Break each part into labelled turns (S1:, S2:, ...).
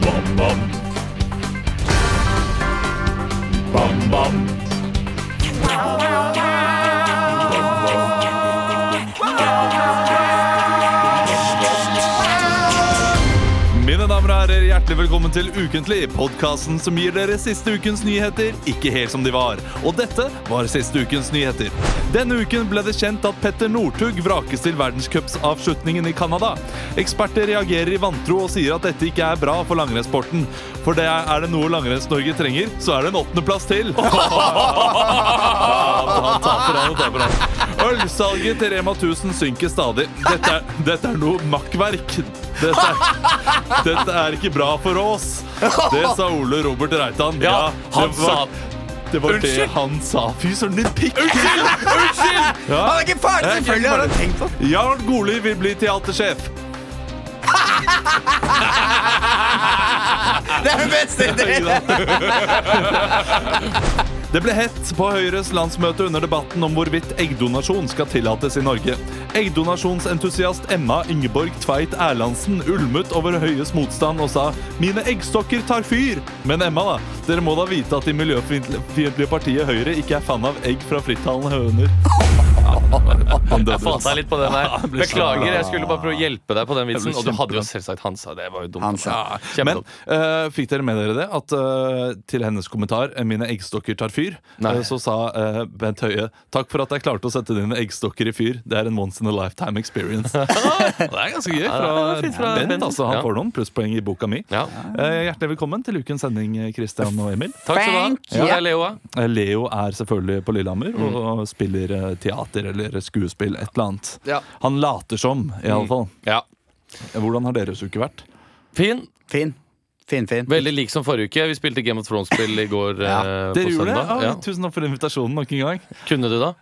S1: Bam, bam. Bam, bam. Mine damer og herrer, hjertelig velkommen til Ukentlig, podkasten som gir dere siste ukens nyheter ikke helt som de var. Og dette var siste ukens nyheter. Denne uken ble det kjent at Petter Northug vrakes til verdenscupsavslutningen i Canada. Eksperter reagerer i vantro og sier at dette ikke er bra for langrennssporten. For det er er det noe Langrenns-Norge trenger, så er det en åttendeplass til! Han taper, han taper, han. Ølsalget til Rema 1000 synker stadig. Dette er, dette er noe makkverk. Dette er, dette er ikke bra for oss. Det sa Ole Robert Reitan.
S2: Ja, han
S1: det var, Det var det
S2: Unnskyld.
S1: han sa. Fy søren, din pikk!
S2: Unnskyld!
S1: Ja.
S2: Han er
S1: Jeg
S2: ikke ferdig,
S1: er ikke
S2: selvfølgelig har han
S1: ferdig.
S2: tenkt på det.
S1: Jarl Goli vil bli teatersjef.
S2: Det er den beste ideen!
S1: Det ble hett på Høyres landsmøte under debatten om hvorvidt eggdonasjon skal tillates i Norge. Eggdonasjonsentusiast Emma Ingeborg Tveit Erlandsen ulmet over Høyes motstand og sa «Mine eggstokker tar fyr!» Men Emma da, dere må da vite at det miljøfiendtlige partiet Høyre ikke er fan av egg fra frittalende høner. Han døde.
S3: Jeg falt deg litt på den der.
S1: ble så
S3: Beklager, jeg skulle bare prøve å hjelpe deg på den vitsen.
S1: Jeg ble
S3: Og du hadde jo
S1: kjempeglad.
S3: selvsagt Hansa. Det var jo dumt.
S2: Han sa.
S3: Ja,
S1: Men
S3: kjempedumt.
S1: eh, fikk dere med dere det? At eh, til hennes kommentar 'Mine eggstokker tar fyr',
S3: Nei.
S1: eh, så sa eh, Bent Høie 'Takk for at jeg klarte å sette dine eggstokker i fyr'. Det er en once in a lifetime experience. det er ganske gøy fra,
S3: fra
S1: Bent.
S3: Bent.
S1: altså Han
S3: Ja.
S1: får noen plusspoeng i boka mi.
S3: ja.
S1: Eh, hjertelig velkommen til ukens sending, eh, Christian og Emil.
S3: Takk skal du ha.
S2: Thank
S3: Hvor
S2: you.
S3: er Leoa?
S1: Eh, Leo er selvfølgelig på Lillehammer
S3: Mm.
S1: og spiller eh, teater eller skuespill, et eller annet.
S2: Ja.
S1: Han later som,
S3: Mm.
S1: iallfall.
S3: Ja.
S1: Hvordan har deres uke vært?
S3: Fin.
S2: Fin. Fin, fin.
S3: Veldig lik som forrige uke. Vi spilte Game of Thrones-spill i går
S2: Ja,
S3: eh, på
S1: Dere gjorde det?
S3: søndag.
S1: Ja,
S3: Ja.
S1: Tusen takk for invitasjonen nok en gang.
S3: Kunne du da?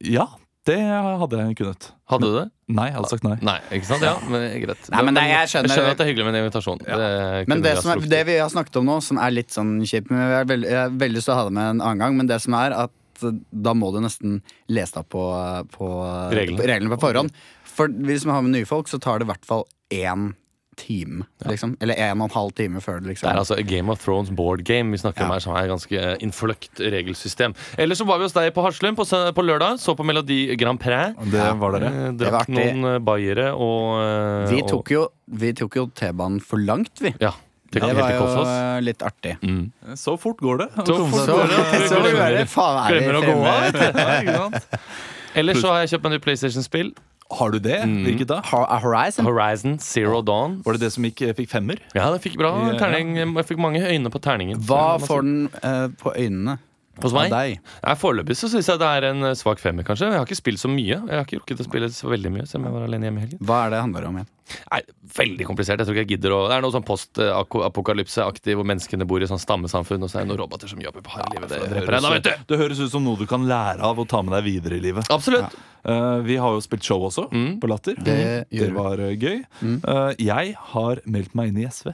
S1: Ja, det hadde jeg kunnet.
S3: Hadde du det?
S1: Nei, jeg hadde sagt nei.
S3: Nei, ikke sant? Ja, men greit.
S2: Nei, men nei, jeg skjønner-
S3: at det er hyggelig med en invitasjon. Det
S2: Men
S3: kunne
S2: det,
S3: jeg
S2: som er,
S3: sluppet.
S2: det vi har snakket om nå, som er litt sånn kjipt men Jeg har veldig, jeg har veldig lyst til å ha det med en annen gang, men det som er at eh, da må du nesten lese deg opp på, eh, på
S3: Reglene.
S2: på reglene på forhånd. For hvis man har med nye folk, så tar det i hvert fall én time. Liksom. Eller en og en halv time før det,
S3: Det er
S2: liksom.
S3: altså Game of Thrones board game vi snakker om her, som er ganske eh, innfløkt regelsystem. Eller så var vi hos deg på Haslum på, sø- på lørdag, så på Melodi Grand Prix.
S1: Det var dere.
S3: Eh,
S2: Det var
S3: Drakk
S2: artig.
S3: noen eh, bayere og eh,
S2: Vi
S3: og-
S2: tok jo, vi tok jo T-banen for langt, vi.
S3: Ja. Det
S2: Det
S3: kan
S2: var
S3: helt i
S2: jo
S3: Kolsås.
S2: eh, litt artig.
S3: Mm.
S1: Så fort går det. å
S3: Så
S1: komme
S3: fort
S1: seg
S2: Så,
S3: går
S1: til-
S3: det.
S2: så vi bare, faen, er vi
S3: Glemmer å gå
S2: fremme?
S3: av. vet
S1: Ja, ikke sant?
S3: du. Ellers så har jeg kjøpt meg nytt PlayStation-spill.
S1: Har du det? Hvilket da?
S2: Ho- Horizon?
S3: Horizon Zero Dawn.
S1: Var det det som ikke fikk femmer?
S3: Ja, det fikk bra
S1: Ja.
S3: terning. Jeg fikk mange øyne på terningen.
S2: Hva
S3: Ja,
S2: får den eh, på øynene?
S3: Hos
S2: av
S3: meg?
S2: deg?
S3: Nei, Foreløpig så syns jeg det er en eh, svak femmer, kanskje. Jeg har ikke spilt så mye. Jeg har ikke rukket å spille så veldig mye, selv om jeg var alene hjemme i helgen.
S2: Hva er det det handler om igjen?
S3: Nei, Veldig komplisert. Jeg tror ikke jeg gidder å Det er noe sånn post-apokalypse-aktig hvor menneskene bor i sånn stammesamfunn, og så er det noen roboter som jobber på harde livet. Det dreper deg, da, vet du!
S1: det høres ut som noe du kan lære av og ta med deg videre i livet.
S3: Absolutt.
S1: Eh, vi har jo spilt show også, på Latter.
S2: Det gjør vi. Mm.
S1: var eh, gøy. Eh, jeg har meldt meg inn i SV.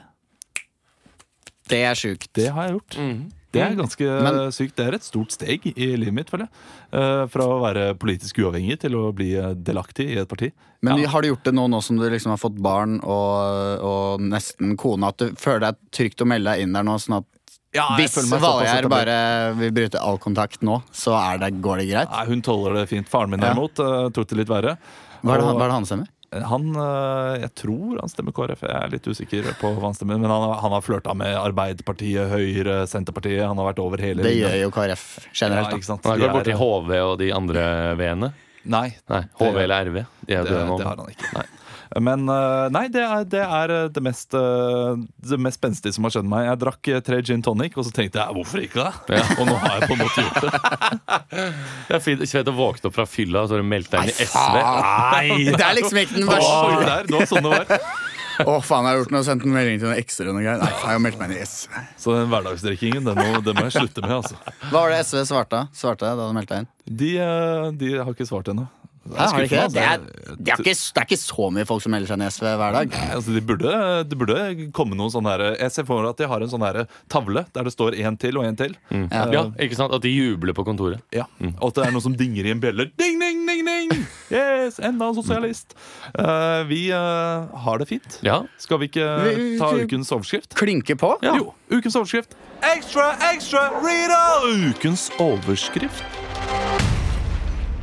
S2: Det er sjukt.
S1: Det har jeg gjort. Det er ganske
S2: Men-
S1: sykt. Det er et stort steg i livet mitt, føler jeg. Eh, fra å være politisk uavhengig til å bli eh, delaktig i et parti.
S2: Men har du gjort det nå, nå som du liksom har fått barn og, og nesten kone, at du føler deg trygt å melde deg inn der nå? Sånn at
S1: Ja, jeg
S2: hvis
S1: føler meg såpass
S2: Valgjerd
S1: etablert.
S2: bare vil bryte all kontakt nå, så er det, går det greit?
S1: Nei, hun tåler det fint. Faren min
S2: Ja.
S1: derimot eh, tok det litt verre.
S2: Hva er det,
S1: Og
S2: han- hva er det han stemmer?
S1: han, eh, jeg tror han stemmer KrF, jeg er litt usikker på hva han stemmer. Men han, har- han har flørta med Arbeiderpartiet, Høyre, Senterpartiet. Han har vært over hele
S2: Det
S1: linja.
S2: gjør jo KrF
S1: Ja,
S2: generelt.
S1: ikke
S2: Da.
S1: sant?
S3: Han har
S1: De
S3: gått borti
S1: er-
S3: HV og de andre V-ene.
S1: Nei,
S3: Nei, HV eller RV. De er jo
S1: det,
S3: døde nå.
S1: det har han ikke.
S3: Nei.
S1: Men eh, nei, det er det, er eh, det mest eh, Det mest spenstige som har skjedd meg. Jeg drakk eh, tre gin tonic, og så tenkte jeg hvorfor ikke? det? Og nå har jeg på en måte gjort det.
S3: Det er fint Svete våknet opp fra fylla, og så har hun meldt deg inn i SV.
S1: Nei!
S2: Det er liksom ikke den
S1: Åh,
S2: verste.
S1: der, det var sånn det var.
S2: Å, faen, jeg har gjort noe, sendt en melding til noen ekser og noe greier. Nei, jeg har meldt meg inn i SV.
S1: Så den hverdagsdrikkingen den må, den må jeg slutte med. altså
S2: Hva var det SV svarte, svarte da du meldte deg inn?
S1: De, eh, de har ikke svart ennå. Det er
S2: Hæ, har de ikke
S1: skuffende,
S2: det? Det er,
S1: altså.
S2: det, er ikke, det er ikke så mye folk som melder seg inn i SV hver dag.
S1: Nei, Altså, de burde, det burde komme noen sånne her, Jeg ser for meg at de har en sånn her tavle der det står én til og én til.
S2: Mm.
S3: Ja, ikke sant? At de jubler på kontoret.
S1: Ja. Og at det er noen som dinger i en bjelle. Ding, ding, ding, ding! Yes, Enda en sosialist! Eh, vi eh, har det fint.
S3: Ja.
S1: Skal vi ikke
S2: Vi-
S1: ta
S2: vi-
S1: ukens overskrift?
S2: Klinke på?
S1: Jo, ukens overskrift. Ekstra, ekstra, Rita! Ukens overskrift.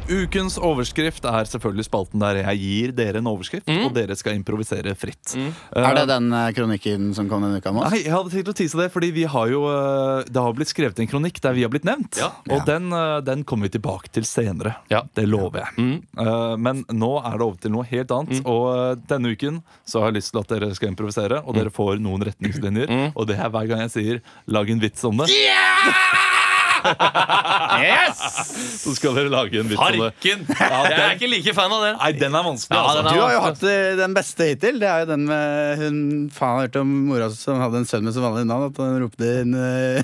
S1: Ukens overskrift er selvfølgelig spalten der jeg gir dere en overskrift, og dere skal improvisere fritt. Eh,
S2: Er det den eh, kronikken som kom denne uka med oss?
S1: Nei, jeg hadde tenkt å tise det, fordi vi har jo eh, Det har blitt skrevet en kronikk der vi har blitt nevnt. Og Den, eh, den kommer vi tilbake til senere.
S3: Ja.
S1: Det lover jeg. Eh, men nå er det over til noe helt annet. Og eh, denne uken så har jeg lyst til at dere skal improvisere, og dere får noen retningslinjer. Og det er hver gang jeg sier 'lag en vits om det', så skal dere lage en vits om det. Ja,
S3: Jeg er
S1: den,
S3: ikke like fan av den.
S1: nei, den er vanskelig,
S3: Ja,
S1: altså.
S3: den er-
S2: Du har jo hatt eh, den beste hittil. Det er jo den med hun faen hørte om mora som hadde en sønn med så vanlig navn, at han ropte inn eh,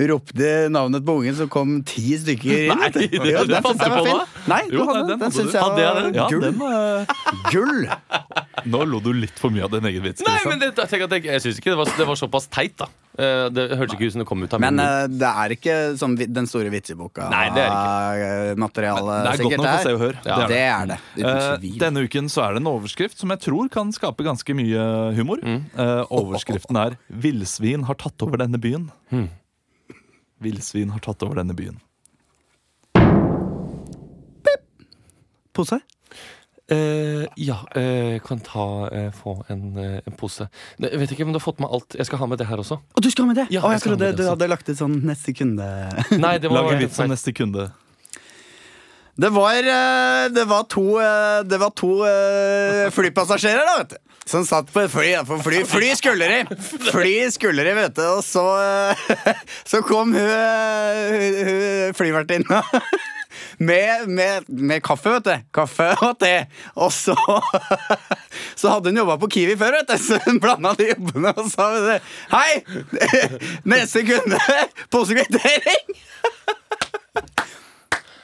S2: Ropte navnet på ungen, så kom ti stykker inn.
S3: Nei,
S2: vet du.
S3: det-
S2: Jo,
S3: det
S2: den synes
S3: fant du
S2: jeg var
S3: på
S2: fin.
S3: da?
S2: Nei, du
S1: Jo, nei,
S2: hadde den.
S1: den
S2: Den
S1: hadde du.
S2: syns jeg
S3: Hadde jeg
S2: var
S3: den?
S1: Ja,
S2: gull.
S1: den, eh,
S2: gull.
S1: nå lo du litt for mye av din egen vits.
S3: Nei,
S1: Christian.
S3: men det, jeg, tenker at jeg, jeg synes ikke det var, det var såpass teit, da. Eh, Det hørtes ikke ut som det kom ut av min
S2: Men
S3: munn.
S2: eh, det er ikke sånn vi- den store vitseboka-materialet,
S3: Nei, det er
S1: Det er godt nok for Se og Hør.
S2: Ja,
S1: Det er det.
S2: det er det. Uten
S1: Eh,
S2: tvil.
S1: denne uken så er det en overskrift som jeg tror kan skape ganske mye humor.
S3: Mm.
S1: Eh, overskriften er 'Villsvin har tatt over denne byen'.
S3: Hmm.
S1: Villsvin har tatt over denne byen.
S2: Pose?
S3: Eh, ja, eh, kan ta eh, få en, eh, en pose. Ne, Jeg vet ikke om du har fått med alt. Jeg skal ha med det her også.
S2: Å, du skal ha med det?
S3: Ja,
S2: Å,
S3: jeg
S2: jeg
S3: skal ha med
S2: trodde
S3: det
S2: du
S3: også.
S2: hadde lagt ut sånn neste kunde.
S3: Nei, det var
S1: Lag en
S3: helt
S1: vits
S3: feil.
S1: om
S2: sånn-
S1: neste kunde.
S2: Det var, eh, det var to, eh, det var to eh, flypassasjerer, da, vet du. Som satt på et fly. da, For fly, fly skulle de! Fly skulle de, vet du. Og så, eh, så kom hun, eh, hun, hun flyvertinna. Med, med, med kaffe, vet du. Kaffe og te. Og så Så hadde hun jobba på Kiwi før, vet du. Så hun blanda de jobbene og sa vet du, Hei! Neste kunde, posekvittering!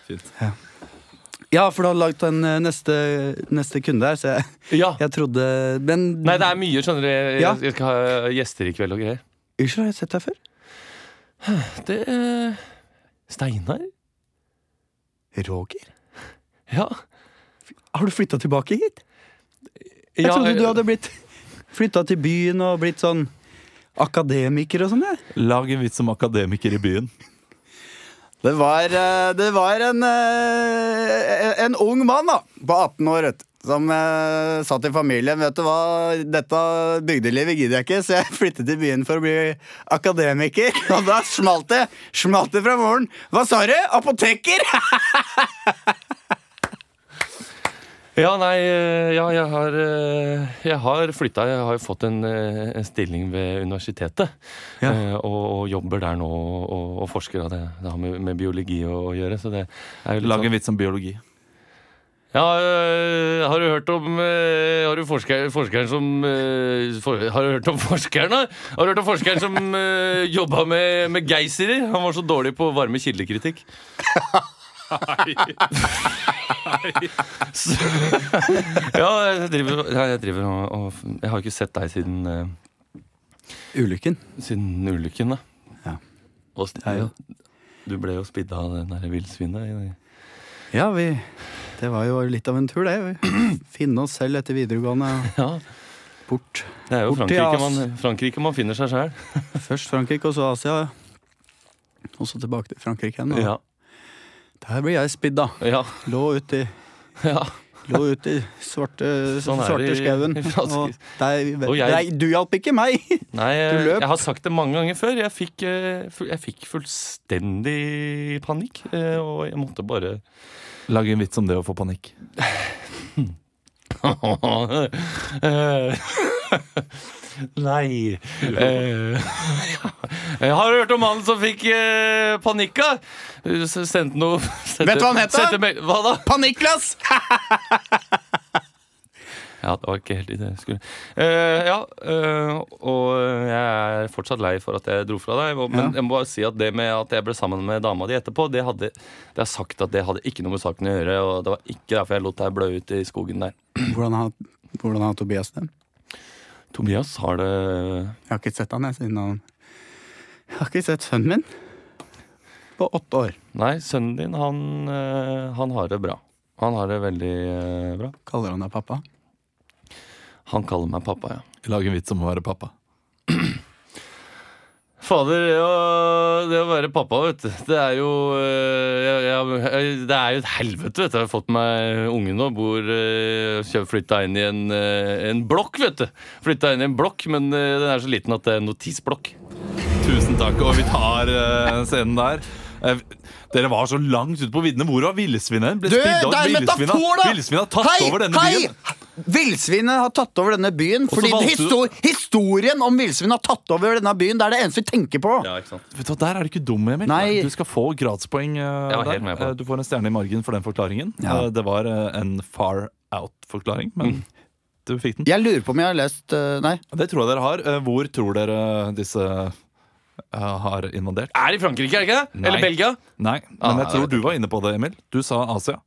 S1: Fint.
S2: Ja, for du har lagd den eh, neste, neste kunde her, så jeg,
S3: Ja.
S2: jeg trodde Men
S3: Nei, det er mye, skjønner du. Jeg,
S2: Ja.
S3: jeg skal ha eh, gjester i kveld og greier.
S2: unnskyld, har jeg sett deg før?
S3: Det eh, Steinar?
S2: Roger?
S3: Ja.
S2: Har du flytta tilbake hit? Jeg
S3: Ja,
S2: trodde du
S3: eh,
S2: hadde blitt flytta til byen og blitt sånn akademiker og sånn. jeg.
S1: Lag en vits om akademiker i byen.
S2: Det var, eh, det var en, eh, en ung mann da, på 18 år, vet du. Som eh, satt i familien. Vet du hva, dette bygdelivet gidder jeg ikke, så jeg flyttet til byen for å bli akademiker. Og da smalt det! Smalt det fra morgenen. Hva sa du? Apoteker?
S3: Ja, nei, eh, ja, jeg har, eh, jeg har flytta. Jeg har jo fått en, eh, en stilling ved universitetet. eh, Og, og jobber der nå og, og forsker. Og det, det har med, med biologi å, å gjøre. Så det er jo litt
S1: Lag en
S3: sånn.
S1: vits om biologi.
S3: Ja, eh, har du hørt om eh, Har du forsker, forskeren som eh, for, Har du hørt om forskeren, da? Har du hørt om forskeren som uh, jobba med, med geysirer? Han var så dårlig på varme kildekritikk. Så- ja, jeg driver, ja, jeg driver og, og Jeg har ikke sett deg siden, eh,
S2: Ulykken.
S3: siden ulykken, da.
S2: Ja.
S3: Og, st-
S2: er jo-
S3: Du ble jo spidda av det der villsvinet. i-
S2: Ja, vi Det var jo litt av en tur, det. Vi Finne oss selv etter videregående og
S3: Ja,
S2: bort.
S3: det er jo
S2: Borti
S3: Frankrike
S2: As-
S3: man, Frankrike man finner seg sjæl.
S2: Først Frankrike, og så Asia. Og så tilbake til Frankrike igjen. og
S3: Ja.
S2: Der blir jeg spidd, da.
S3: ja.
S2: Lå ute i
S3: Ja.
S2: Lå ut i svarte,
S3: Sånn er
S2: svarte
S3: det i-
S2: skauen.
S3: i fransk-
S2: Og deg,
S3: Og jeg-
S2: deg, du hjalp ikke meg!
S3: Nei, eh,
S2: Du løp.
S3: jeg, jeg har sagt det mange ganger før. Jeg fikk, eh, fu- jeg fikk fullstendig panikk. eh, Og jeg måtte bare
S1: Lag en vits om det å få panikk.
S3: Eh, Nei Eh, Jeg har hørt om mannen som fikk eh, panikka. S- Sendte noe sendte,
S2: Vet du hva han het da?
S3: sendte mail- Hva da?
S2: Panikklass!
S3: Ja, det var ikke helt i det jeg skulle Eh, Ja, eh, og jeg er fortsatt lei for at jeg dro fra deg. og- Men jeg må bare si at det med at jeg ble sammen med dama di etterpå, det hadde det er sagt at det hadde ikke noe med saken å gjøre. Og det var ikke derfor jeg lot deg blø ut i skogen der.
S2: Hvordan har, hvordan har Tobias det?
S3: Tobias har det
S2: Jeg har ikke sett han jeg, siden han Jeg har ikke sett sønnen min på åtte år.
S3: Nei, sønnen din, han, eh, han har det bra. Han har det veldig eh, bra.
S2: Kaller han deg pappa?
S3: Han kaller meg pappa, ja.
S1: Lag en vits om å være pappa.
S3: Fader, det å, det å være pappa, vet du Det er jo eh, jeg, jeg, Det er jo et helvete, vet du. Jeg har fått meg unge nå. Bor eh, kjøpt- Flytta inn i en, eh, en blokk, vet du. Flytta inn i en blokk, men eh, den er så liten at det er en notisblokk.
S1: Tusen takk, og vi tar eh, scenen der. Eh, dere var så langt ute på viddene. Hvor var villsvinet? Ble
S2: Du,
S1: spidda ut.
S2: det er en
S1: Villsvinet-
S2: metafor, da!
S1: Villsvinet har tatt over denne byen.
S2: byen. Villsvinet har tatt over denne byen
S1: så
S2: fordi
S1: valgte du-
S2: histor historien om villsvinet har tatt over denne byen. Det er det eneste vi tenker på.
S3: Ja, ikke sant?
S1: Vet du, hva, Der er du ikke dum, Emil.
S2: Nei.
S1: Du skal få gradspoeng. eh,
S3: var helt
S1: der.
S3: med på det.
S1: Eh, Du får en stjerne i margen for den forklaringen.
S2: Ja. Mm.
S1: Eh, Det var eh, en far out-forklaring, men du fikk den.
S2: Jeg lurer på om jeg har lest eh, Nei.
S1: Det tror jeg dere har. Eh, Hvor tror dere disse eh, har invadert?
S3: Er i Frankrike, er det ikke det?
S1: Nei.
S3: Eller Belgia?
S1: Nei,
S3: Ah,
S1: men jeg tror du var inne på det, Emil. Du sa Asia.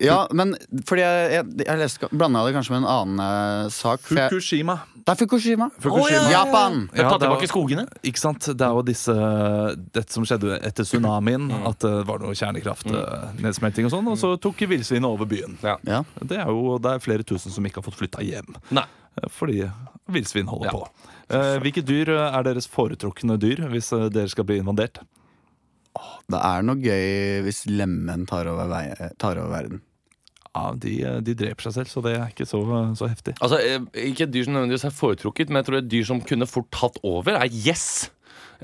S2: Ja, men fordi jeg, jeg, jeg leste Blanda det kanskje med en annen eh, sak. for Jeg,
S1: Fukushima.
S2: det er Fukushima.
S1: Fukushima.
S2: Japan.
S3: Ja,
S1: Ja,
S3: Tatt
S1: det var-
S3: tilbake skogene?
S1: Ikke sant? Det er jo disse, dette som skjedde etter tsunamien,
S3: Mm.
S1: at eh, det var noe kjernekraftnedsmelting og sånn, og så tok villsvinet over byen.
S2: Ja.
S1: Det er jo det er flere tusen som ikke har fått flytta hjem,
S3: Nei.
S1: eh, fordi villsvin holder
S3: Ja.
S1: på. Eh, hvilke dyr eh, er deres foretrukne dyr hvis eh, dere skal bli invadert?
S2: Det er noe gøy hvis lemmen tar over, vei, tar over verden.
S1: Ja, de, eh, de dreper seg selv, så det er ikke så, så heftig.
S3: Altså, eh, Ikke et dyr som nødvendigvis er foretrukket, men jeg tror et dyr som kunne fort tatt over, er gjess.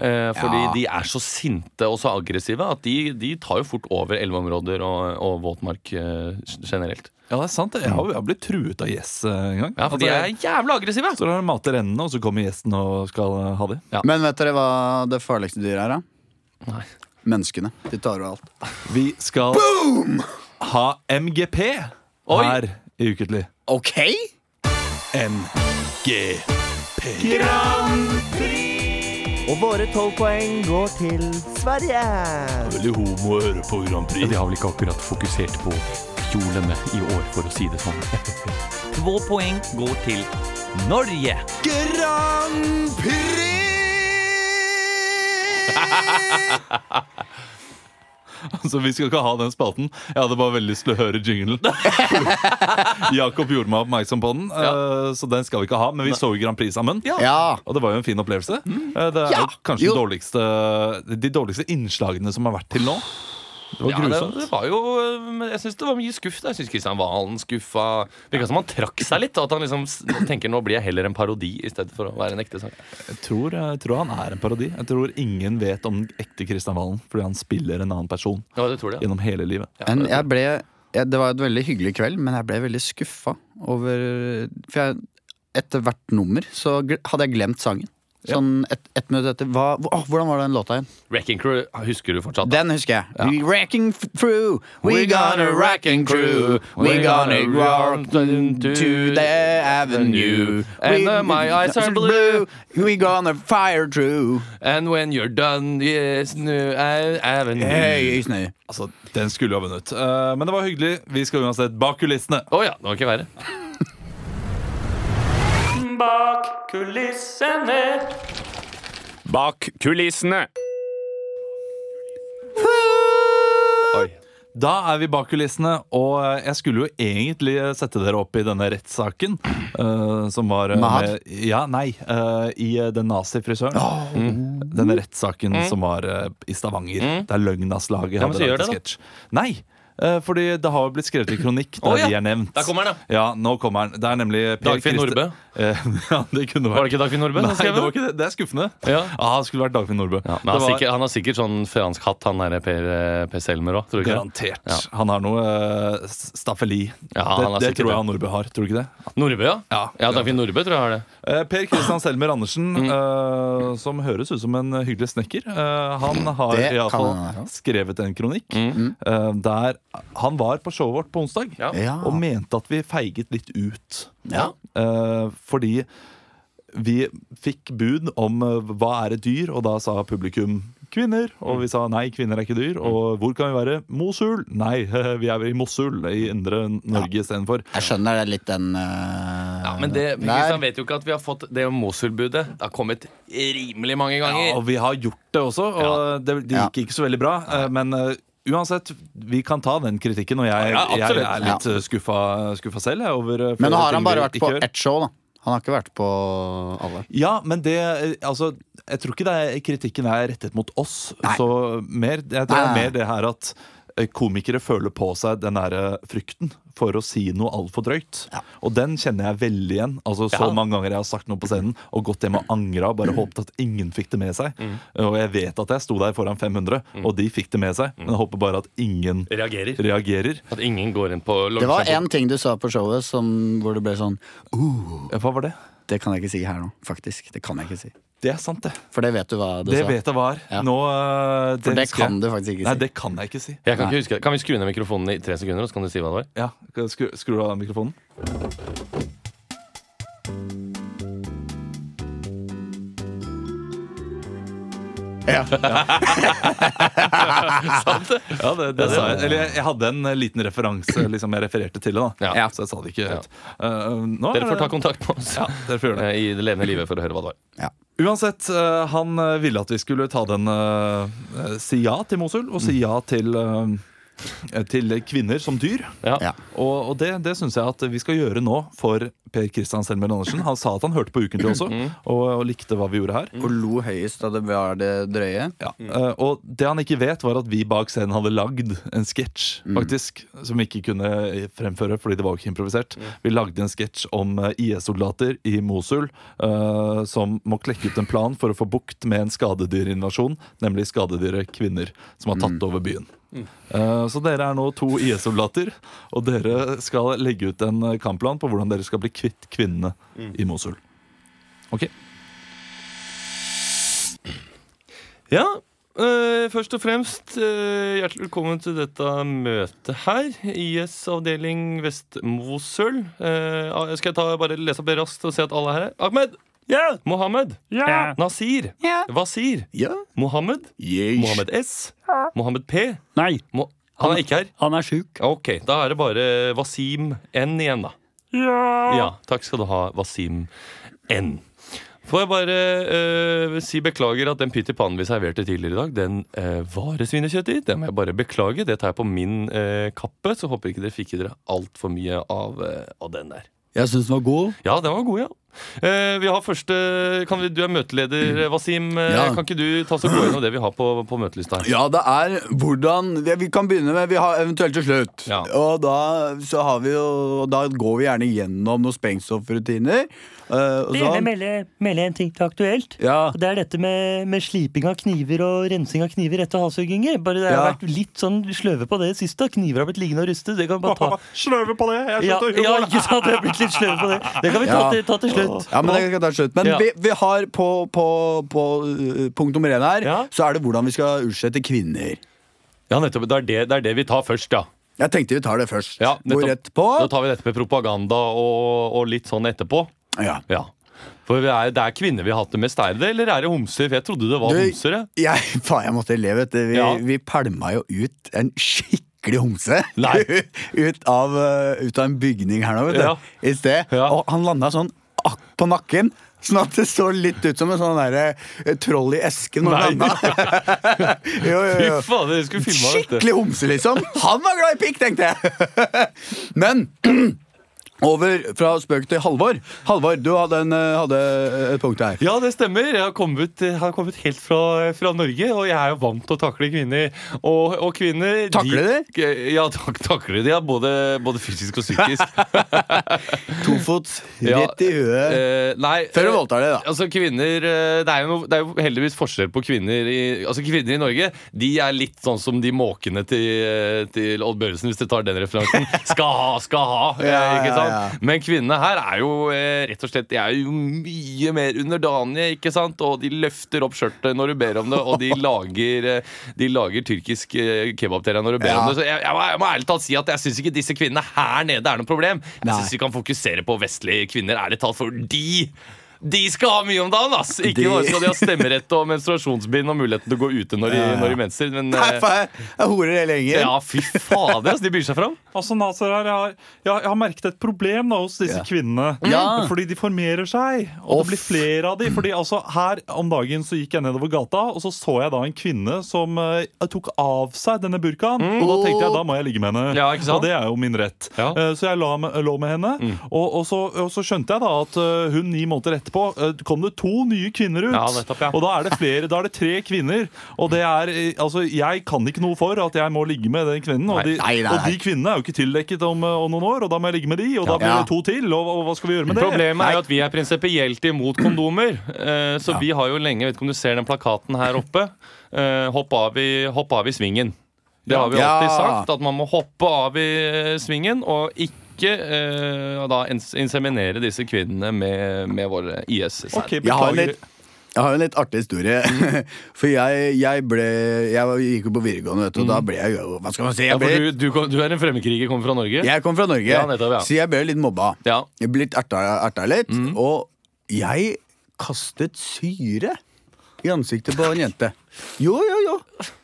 S3: Eh, fordi
S2: Ja.
S3: de er så sinte og så aggressive at de, de tar jo fort over elveområder og, og våtmark eh, generelt.
S1: Ja, det er sant. det. Jeg har, jeg har blitt truet av gjess eh, en gang.
S3: Ja, for de er jævla aggressive!
S1: så dere mater endene, og så kommer gjesten og skal eh, ha dem.
S2: Men vet dere hva det farligste dyret er? da?
S3: Nei.
S2: Menneskene. De tar over alt.
S1: Vi skal ha MGP
S3: Oi.
S1: her i Uketlig.
S2: Ok!
S1: MGP.
S4: Og våre tolv poeng går til Sverige.
S1: Veldig homoer på Grand Prix.
S3: har vel ikke akkurat fokusert på fjolene i år, for å si det sånn.
S4: Två poeng går til Norge.
S2: Grand Prix!
S1: Så Altså, vi skal ikke ha den spalten. Jeg hadde bare veldig lyst til å høre jinglen. Jakob gjorde meg oppmerksom på den, eh, så den skal vi ikke ha. Men vi så jo Grand Prix sammen.
S2: Ja.
S1: Og det var jo en fin opplevelse. Eh, Det er
S2: Ja.
S1: jo kanskje de
S2: Jo.
S1: dårligste, de dårligste innslagene som har vært til nå. Det var
S3: Ja, det,
S1: grusomt.
S3: det var jo eh, men Jeg syns det var mye skuff. da. Jeg syns Kristian Valen skuffa. Virka som han trakk seg litt. og At han liksom s- tenker nå blir jeg heller en parodi i stedet for å være en ekte sang.
S1: Jeg tror, jeg tror han er en parodi. Jeg tror ingen vet om den ekte Kristian Valen fordi han spiller en annen person
S3: Ja, det tror jeg.
S1: gjennom hele livet.
S2: Men jeg ble, jeg, det var et veldig hyggelig kveld, men jeg ble veldig skuffa over For jeg, etter hvert nummer så gl- hadde jeg glemt sangen. Sånn ett et minutt etter. Hva, hvor- åh, hvordan var den låta igjen?
S3: Wrecking Crew husker du fortsatt. da?
S2: Den husker jeg. We wrecking f- through, we gonna wrecking crew. We gonna rock to the avenue.
S3: And uh,
S2: We-
S3: my eyes are blue. Mm.
S2: We gonna fire through.
S3: And when you're done, yes, no, I- avenue.
S2: Hey, snø.
S1: Altså, Den skulle jo ha vunnet. Eh, men det var hyggelig. Vi skal uansett bak kulissene.
S3: Å ja, det var ikke verre.
S5: Bak kulissene.
S1: Da er vi bak kulissene, og eh, jeg skulle jo egentlig eh, sette dere opp i denne rettssaken. eh, som var eh,
S2: Mahad?
S1: med- Ja, nei. eh, I eh, den nazifrisøren. Mm. Denne rettssaken som var eh, i Stavanger.
S3: Mm.
S1: Der Løgnaslaget
S3: Ja, men
S1: hadde
S3: så gjør
S1: lagd en
S3: det,
S1: sketsj. Nei! eh, Fordi det har jo blitt skrevet i kronikk der
S3: Å, ja.
S1: de er nevnt.
S3: Der kommer den,
S1: Ja, nå kommer han. Det er nemlig Per
S3: Dagfinn
S1: Christer-
S3: Nordbø.
S1: Eh, ja, det kunne vært
S3: Var det ikke Dagfinn Nordbø?
S1: Nei,
S3: som skrev
S1: det var ikke det. Det er skuffende.
S3: Ja.
S1: Ah, det skulle vært Dagfinn Nordbø.
S3: Ja, men han,
S1: Det
S3: har
S1: var-
S3: sikkert, han har sikkert sånn fransk hatt, han der Per, eh, per Selmer òg. Tror du ikke? det?
S1: Garantert.
S3: Ja.
S1: Han har noe eh, s- staffeli.
S3: Ja, han har
S1: det det
S3: sikkert
S1: tror
S3: det.
S1: jeg han Nordbø har. Tror du ikke det?
S3: Nordbø, ja?
S1: Ja.
S3: ja Dagfinn Nordbø tror jeg har det.
S1: Eh, Per
S2: Ah.
S1: Kristian Selmer Andersen,
S2: Mm.
S1: eh, som høres ut som en hyggelig snekker, eh, han har
S2: Det kan han
S1: iallfall
S2: være. Mm.
S1: skrevet en kronikk eh, der han var på showet vårt på onsdag
S3: Ja.
S2: Ja.
S1: og mente at vi feiget litt ut.
S2: Ja.
S1: Eh, fordi vi fikk bud om eh, hva er et dyr, og da sa publikum kvinner. Og vi sa nei, kvinner er ikke dyr.
S2: Mm.
S1: Og hvor kan vi være? Mosul. Nei, vi er i Mosul, i indre Norge istedenfor.
S2: Jeg skjønner det er litt den uh,
S3: Ja, men det,
S2: der.
S3: Kristian vet jo ikke at vi har fått det Mosul-budet. Det har kommet rimelig mange
S1: Ja,
S3: ganger.
S1: og vi har gjort det også, og det, det
S2: Ja.
S1: gikk ikke så veldig bra. eh, Men eh, uansett, vi kan ta den kritikken, og jeg,
S3: Ja, absolutt.
S1: jeg er litt
S2: Ja.
S1: eh, skuffa, skuffa selv. Jeg, over eh, flere
S2: Men nå har
S1: ting
S2: han bare
S1: vi
S2: vært
S1: ikke
S2: på
S1: gjør.
S2: ett show, da. Han har ikke vært på alle.
S1: Ja, men det eh, Altså, jeg tror ikke det er, kritikken er rettet mot oss. Så mer, jeg tror det
S2: Nei,
S1: er
S2: nei,
S1: mer det her at eh, komikere føler på seg den der eh, frykten for å si noe altfor drøyt. Og den kjenner jeg veldig igjen. Altså Så
S3: Ja.
S1: mange ganger jeg har sagt noe på scenen og gått hjem og angra og bare håpet at ingen fikk det med seg. Og jeg vet at jeg sto der foran 500, og de fikk det med seg. Men jeg håper bare at ingen
S3: Reagerer.
S1: reagerer.
S3: At ingen går inn på
S2: Det var én ting du sa på showet som, hvor det ble sånn
S1: Ja, Hva var det?
S2: Det kan jeg ikke si her nå, faktisk. Det kan jeg ikke si.
S1: Det er sant, det.
S2: For det vet du hva du
S1: Det
S2: sa.
S1: vet jeg var.
S2: Ja.
S1: Nå eh,
S2: For det
S1: husker jeg.
S2: kan du faktisk ikke
S1: Nei,
S2: si.
S1: det kan jeg ikke si.
S3: Jeg kan, ikke huske, det. kan vi skru ned mikrofonen i tre sekunder, og så kan du si hva det var?
S1: Ja, skru, skru av mikrofonen.
S2: Ja.
S1: Ja, det, det sa jeg. Eller jeg, jeg hadde en eh, liten referanse liksom jeg refererte til det, da.
S3: Ja.
S1: Så jeg sa det ikke helt. Eh, nå er
S3: Dere får ta
S1: det-
S3: kontakt med oss
S1: Ja, dere får gjøre det.
S3: eh, i det levende livet for å høre hva det var.
S1: Uansett, eh, han eh, ville at vi skulle ta den eh, eh, Si ja til Mosul, og
S3: Mm.
S1: si ja til eh, til kvinner som dyr.
S2: Ja.
S1: Og, og det, det syns jeg at vi skal gjøre nå for Per Kristian Selmer Andersen. Han sa at han hørte på Ukentlig også,
S3: Mm.
S1: og, og likte hva vi gjorde her.
S2: Og lo høyest da det var det drøye.
S1: Ja. eh, og det han ikke vet, var at vi bak scenen hadde lagd en sketsj, faktisk, som vi ikke kunne fremføre fordi det var jo ikke improvisert. Vi lagde en sketsj om eh, IS-soldater i Mosul eh, som må klekke ut en plan for å få bukt med en skadedyrinvasjon, nemlig skadedyret kvinner, som har tatt over byen. Eh, Så dere er nå to IS-soldater, og dere skal legge ut en eh, kampplan på hvordan dere skal bli kvitt kvinnene i Mosul. Ok,
S3: Ja, eh, først og fremst eh, hjertelig velkommen til dette møtet her. IS avdeling Vest-Mosøl. Eh, ah, skal jeg ta, bare lese opp det raskt og se at alle er her? Ahmed! Mohammed! Nasir! Wasir!
S2: Ja.
S3: Mohammed!
S2: Yes.
S3: Mohammed S. Mohammed P.
S5: Nei,
S3: Mo han er ikke her.
S5: han er sjuk.
S3: Ok, Da er det bare Wasim N igjen, da. Ja. Takk skal du ha, Wasim N. Får jeg bare eh, si beklager at den pytt i pannen vi serverte tidligere i dag, den eh, var det svinekjøtt i. Det må jeg bare beklage. Det tar jeg på min eh, kappe, så håper ikke dere fikk i dere altfor mye av, eh, av den der.
S5: Jeg syns den var god.
S3: Ja, den var god, ja. Eh, vi har første kan vi, Du er møteleder, Wasim. Eh,
S2: Ja.
S3: Kan ikke du ta oss og gå gjennom det vi har på, på møtelista? her?
S2: Ja, det er hvordan det Vi kan begynne med Vi har eventuelt til slutt.
S3: Ja.
S2: Og da så har vi jo og Da går vi gjerne gjennom noen sprengstoffrutiner. eh, og
S5: Jeg vil
S2: sånn.
S5: gjerne melde, melde en ting til aktuelt.
S2: Ja.
S5: Og Det er dette med, med sliping av kniver og rensing av kniver etter halshugginger. Bare det har
S2: Ja.
S5: vært litt sånn sløve på det siste. Kniver har blitt liggende og ruste. Det kan vi bare ta.
S1: Sløve på det! Jeg
S5: Ja, ja, ikke sant? Vi har blitt litt sløve på det. Det kan vi ta,
S2: Ja.
S5: til, ta til slutt.
S2: Ja, men det kan jeg ta til slutt Men
S5: Ja.
S2: vi, vi har på, på, på uh, punkt nummer én her,
S3: Ja.
S2: så er det hvordan vi skal utslette kvinner.
S3: Ja, nettopp. Det er det, det er det vi tar først, ja.
S2: Jeg tenkte vi tar det først.
S3: Ja, nettopp.
S2: Går rett på.
S3: Da tar vi dette med propaganda og, og litt sånn etterpå.
S2: Ja.
S3: Ja. For vi er, det er kvinner vi har hatt det mest. Er det det, eller er det homser? For jeg trodde det var
S2: Du-
S3: homser. jeg.
S2: Jeg, faen, jeg måtte le, vet du. Vi,
S3: Ja.
S2: vi pælma jo ut en skikkelig homse
S3: Nei.
S2: ut, av, uh, ut av en bygning her nå, vet du.
S3: Ja.
S2: I sted.
S3: Ja.
S2: Og han landa sånn akk på nakken. Sånn at det så litt ut som en sånn derre eh, troll i esken. når han
S3: Nei.
S2: landa. jo, jo,
S3: Fy
S2: jo.
S3: fader, dere skulle filma dette.
S2: Skikkelig homse, liksom. Han var glad i pikk, tenkte jeg. Men Over fra spøk til Halvor. Halvor, du hadde, en, eh, hadde et punkt her.
S3: Ja, det stemmer. Jeg har kommet, jeg har kommet helt fra, fra Norge, og jeg er jo vant til å takle kvinner. Og, og kvinner
S2: Takle
S3: de? Ja, tak, takle de, ja. Både, både fysisk og psykisk.
S2: Tofots
S3: Ja,
S2: rett i huet.
S3: eh, nei,
S2: Før du
S3: eh,
S2: voldtar det, da.
S3: Altså kvinner, eh, det er, jo noe, det er jo heldigvis forskjell på kvinner i, Altså kvinner i Norge De er litt sånn som de måkene til, eh, til Odd Børresen Hvis du tar den referansen Skal ha, skal ha eh,
S2: Ja,
S3: ikke
S2: ja,
S3: sant?
S2: ja.
S3: Men kvinnene her er jo eh, rett og slett De er jo mye mer underdanige Ikke sant? Og de løfter opp skjørtet når du ber om det Og de lager, eh, de lager tyrkisk eh, kebabteria når du ber
S2: Ja.
S3: om det Så jeg, jeg, må, jeg må ærlig talt si at jeg synes ikke disse kvinnene her nede er noe problem Jeg
S2: Nei.
S3: synes vi kan fokusere på vestlige kvinner Ærlig talt for de de skal ha mye om dagen! ass Ikke
S2: De-
S3: bare skal de ha stemmerett og menstruasjonsbind og muligheten til å gå ute når de, når de menser. Men
S2: Nei,
S3: eh,
S2: faen, jeg horer hele gjengen.
S3: ja, fy fader, ass, de byr seg fram.
S1: Altså, Nasser her, jeg har, jeg, har- jeg har merket et problem da, hos disse
S2: Ja.
S1: kvinnene.
S2: Ja.
S1: Fordi de formerer seg, og det blir flere av de. Fordi altså, Her om dagen så gikk jeg nedover gata, og så så jeg da en kvinne som eh, tok av seg denne burkaen. Og da tenkte jeg da må jeg ligge med henne.
S3: Ja, ikke sant?
S1: Og det er jo min rett.
S3: Ja. Mm.
S1: Eh, Så jeg la, med- lå med henne, og, og, så, og så skjønte jeg da at eh, hun ni måneder etterpå eh, kom det to nye kvinner ut.
S3: Ja, nettopp, ja.
S1: Og da er det flere, da er det tre kvinner. Og det er, eh, altså, jeg kan ikke noe for at jeg må ligge med den kvinnen. Og
S3: Nei,
S1: de,
S2: nei, nei,
S1: og de kvinnene er jo ikke tildekket om, eh, om noen år, og da må jeg ligge med de, og da blir
S2: Ja.
S1: det to til. Og, og hva skal vi gjøre med det?
S3: Problemet er jo at vi er prinsipielt imot kondomer. eh, Så vi har jo lenge Vet ikke om du ser den plakaten her oppe. eh, Hopp av i, hopp av i svingen. Det har vi
S2: Ja.
S3: alltid sagt, at man må hoppe av i eh, svingen og ikke eh, da ins- inseminere disse kvinnene med, med eh, våre IS-sæd.
S1: Ok,
S2: Jeg har en
S1: beklager.
S2: litt, jeg har en litt artig historie. For jeg, jeg ble Jeg var- gikk jo på videregående, vet du, og da ble jeg jo Hva skal man si?
S3: Mm. Ja,
S2: Jeg,
S3: for
S2: ble,
S3: du, du, kom- du er en fremmedkriger, kommer fra Norge?
S2: jeg kom fra Norge,
S3: Ja, nettopp, ja.
S2: så jeg ble litt mobba.
S3: Ja. Mm.
S2: Jeg ble litt erta, erta litt. Og jeg kastet syre i ansiktet på en jente. Jo, jo, jo.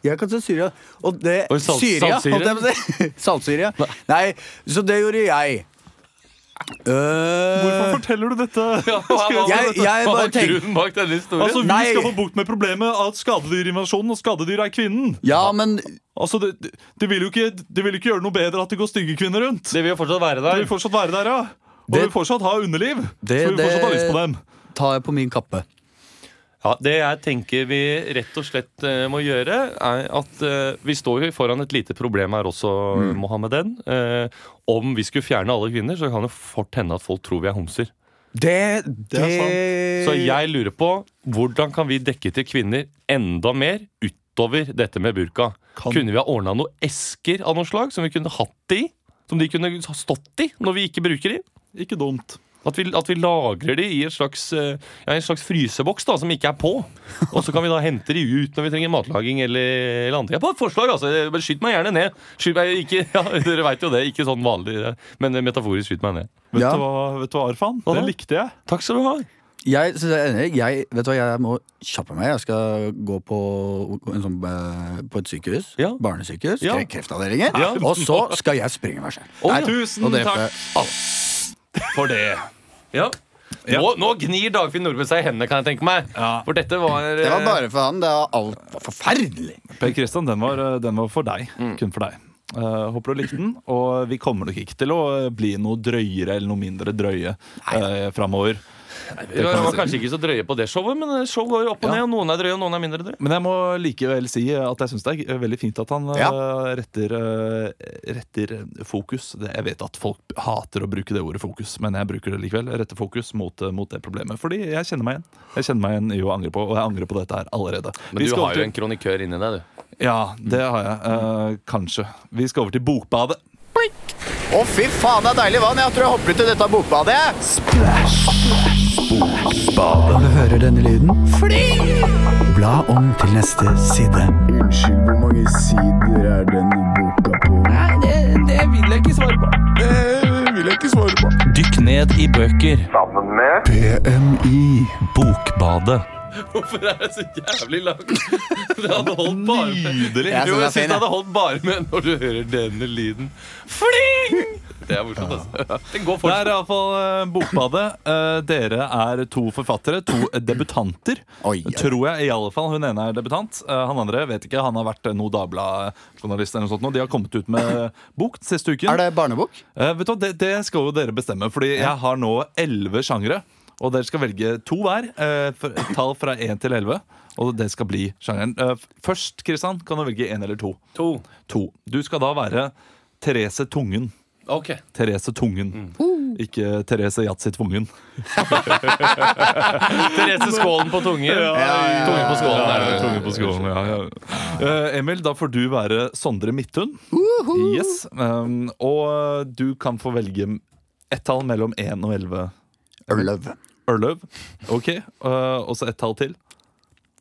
S2: Jeg kastet syre. Og det
S3: Og salt-
S2: Syre, ja,
S3: saltsyre?
S2: holdt jeg på å si. Saltsyre. ja. Nei, så det gjorde jeg.
S1: Hvorfor
S2: Uh,
S1: forteller du dette?
S2: jeg, jeg
S3: Hva
S2: bare
S3: er
S2: tenker
S3: grunnen bak denne historien?
S1: Altså, Vi
S2: Nei.
S1: skal få bukt med problemet at skadedyrinvasjonen og skadedyr er kvinnen.
S2: Ja, men
S1: Altså, det, det- det, vil jo ikke, det vil jo ikke gjøre noe bedre at det går stygge kvinner rundt.
S3: det vil jo fortsatt være
S1: De
S3: der.
S1: vil fortsatt være der, ja. Og
S2: Det-
S1: vi vil fortsatt ha underliv.
S2: det-
S1: så vi vil fortsatt ha
S2: det-
S1: lyst på dem.
S2: tar jeg på min kappe.
S3: Ja, det jeg tenker vi rett og slett eh, må gjøre, er at eh, vi står jo foran et lite problem her også, Mohammeden. Eh, om vi skulle fjerne alle kvinner, så kan det fort hende at folk tror vi er homser.
S2: Det,
S1: Det er
S3: Så jeg lurer på hvordan kan vi dekke til kvinner enda mer utover dette med burka?
S1: Kan-
S3: Kunne vi ha ordna noen esker av noe slag som vi kunne hatt i? Som de kunne ha stått i når vi ikke bruker de?
S1: Ikke dumt.
S3: At vi, at vi lagrer de i et slags, eh, ja, en slags fryseboks da, som ikke er på. Og så kan vi da hente de ut når vi trenger matlaging eller, eller andre. Jeg har bare et forslag, altså. Bare Skyt meg gjerne ned. Skyt meg, ikke, ja, dere veit jo det. Ikke sånn vanlig, eh, men metaforisk skyt meg ned.
S1: Vet,
S2: Ja.
S1: du hva, vet du hva, Arfan?
S3: Hva da?
S1: Det likte jeg.
S3: Takk skal du ha.
S2: Jeg, synes jeg, er enig. jeg Vet du hva, jeg må kjappe meg. Jeg skal gå på, en sånn, eh, på et sykehus.
S3: Ja.
S2: Barnesykehus.
S3: Ja.
S2: kre- Kreftavdelingen.
S3: Ja.
S2: Og så skal jeg sprenge meg selv.
S3: Å,
S2: Nei,
S3: ja.
S2: og
S3: Tusen
S2: drepe
S3: takk.
S2: alle.
S3: For det. Ja. Nå, nå gnir Dagfinn Nordbø seg i hendene, kan jeg tenke meg. For dette var,
S2: Det var
S3: eh,
S2: bare for han. Det var alt var forferdelig.
S1: Per Kristian, den var, eh, den var for deg.
S3: Mm.
S1: Kun for deg. Eh, håper du likte den. Og vi kommer nok ikke til å eh, bli noe drøyere eller noe mindre drøye uh, framover.
S3: Vi var kanskje ikke så drøye på det showet, men show går jo opp og ned. Og noen er drøye, og noen er mindre drøye.
S1: Men jeg må likevel si at jeg syns det er veldig fint at han eh, retter, eh, retter fokus. Det- Jeg vet at folk hater å bruke det ordet fokus, men jeg bruker det likevel. Jeg Retter fokus mot, eh, mot det problemet. Fordi jeg kjenner meg igjen. Jeg kjenner meg igjen i å angre på, og jeg angrer på dette her allerede.
S3: Men
S1: Vi
S3: du
S1: skal
S3: har
S1: over
S3: jo
S1: til-
S3: en Mm. kronikør inni deg, du.
S1: Ja, det har jeg. eh, kanskje. Vi skal over til Bokbadet.
S2: Å, fy faen, det er deilig vann. Jeg tror jeg hopper ut i dette bokbadet. Du hører denne lyden? Fly! Bla om til neste side. Unnskyld, hvor mange sider er denne boka på?
S6: Dykk ned i bøker. Sammen med BMI. Bokbadet.
S3: Hvorfor er det så jævlig langt? Det hadde holdt bare med Jo,
S2: Jeg synes den er
S3: jeg synes
S2: fin,
S3: det
S2: jeg.
S3: hadde holdt bare med når du hører denne lyden. Fling!
S1: Det er morsomt, altså. Det er iallfall Bokbadet. Eh, Dere er to forfattere, to debutanter.
S2: Oi, oi.
S1: Tror jeg i alle fall Hun ene er debutant. Eh, Han andre vet ikke. Han har vært eh, noe Dagbladet-journalist eller noe sånt. nå. De har kommet ut med bok den siste uken.
S2: Er det barnebok?
S1: Eh, vet du, hva, det, det skal jo dere bestemme, Fordi jeg har nå elleve sjangere. Og dere skal velge to hver. eh, for- et Tall fra én til elleve. Og det skal bli sjangeren. Eh, f- Først Kristian, kan du velge én eller to.
S3: To.
S1: To. Du skal da være Therese Tungen.
S3: Ok.
S1: Therese Tungen. Ikke Therese Yatzy Tvungen.
S3: Therese Skålen på tungen. Tungen på skålen. er det.
S1: Tungen på skolen, ja, ja. Eh, Emil, da får du være Sondre Midthun. Yes. Um, og du kan få velge ett tall mellom 1 og 11.
S2: Ørløv.
S1: Ørløv. Ok, eh, og så ett tall til.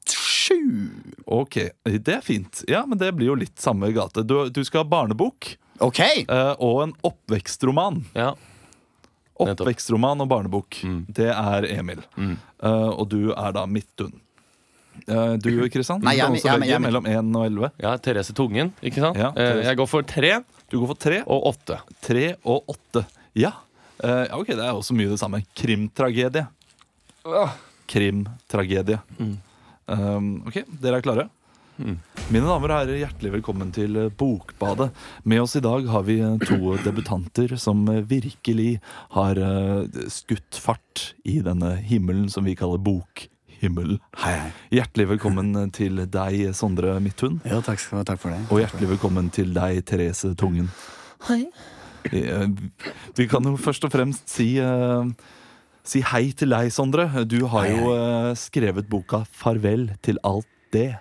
S2: Sju.
S1: Ok, Det er fint. Ja, men det blir jo litt samme gate. Du, du skal ha barnebok
S2: Ok.
S1: eh, og en oppvekstroman.
S3: Ja. Nettopp.
S1: Oppvekstroman og barnebok.
S2: Mm.
S1: Det er Emil. Eh, og du er da Midtun. Eh, du, Kristian, du
S2: Mm-hmm. Nei, jeg er
S1: kan
S2: mi-
S1: også
S2: jeg er mi-
S1: velge
S2: jeg er mi-
S1: mellom 1 og 11.
S3: ja, Therese Tungen, ikke sant?
S1: Ja,
S3: Eh,
S1: Therese.
S3: Jeg går for tre
S1: Du går for 3
S3: og åtte.
S1: Tre og åtte. Ja. Eh, ja, ok, det er også mye det samme. Krimtragedie. Krimtragedie.
S2: Mm.
S1: Um, ok, dere er klare? Mine damer og herrer, hjertelig velkommen til eh, Bokbadet. Med oss i dag har vi eh, to debutanter som eh, virkelig har eh, skutt fart i denne himmelen som vi kaller bokhimmelen.
S2: Hei, hei.
S1: Hjertelig velkommen eh, til deg, Sondre Midthun.
S2: Jo, takk, skal du ha. takk for det.
S1: Og hjertelig velkommen til deg, Therese Tungen. Hei. Vi kan jo først og fremst si, eh, si hei til deg, Sondre. Du har jo eh, skrevet boka 'Farvel til alt det'.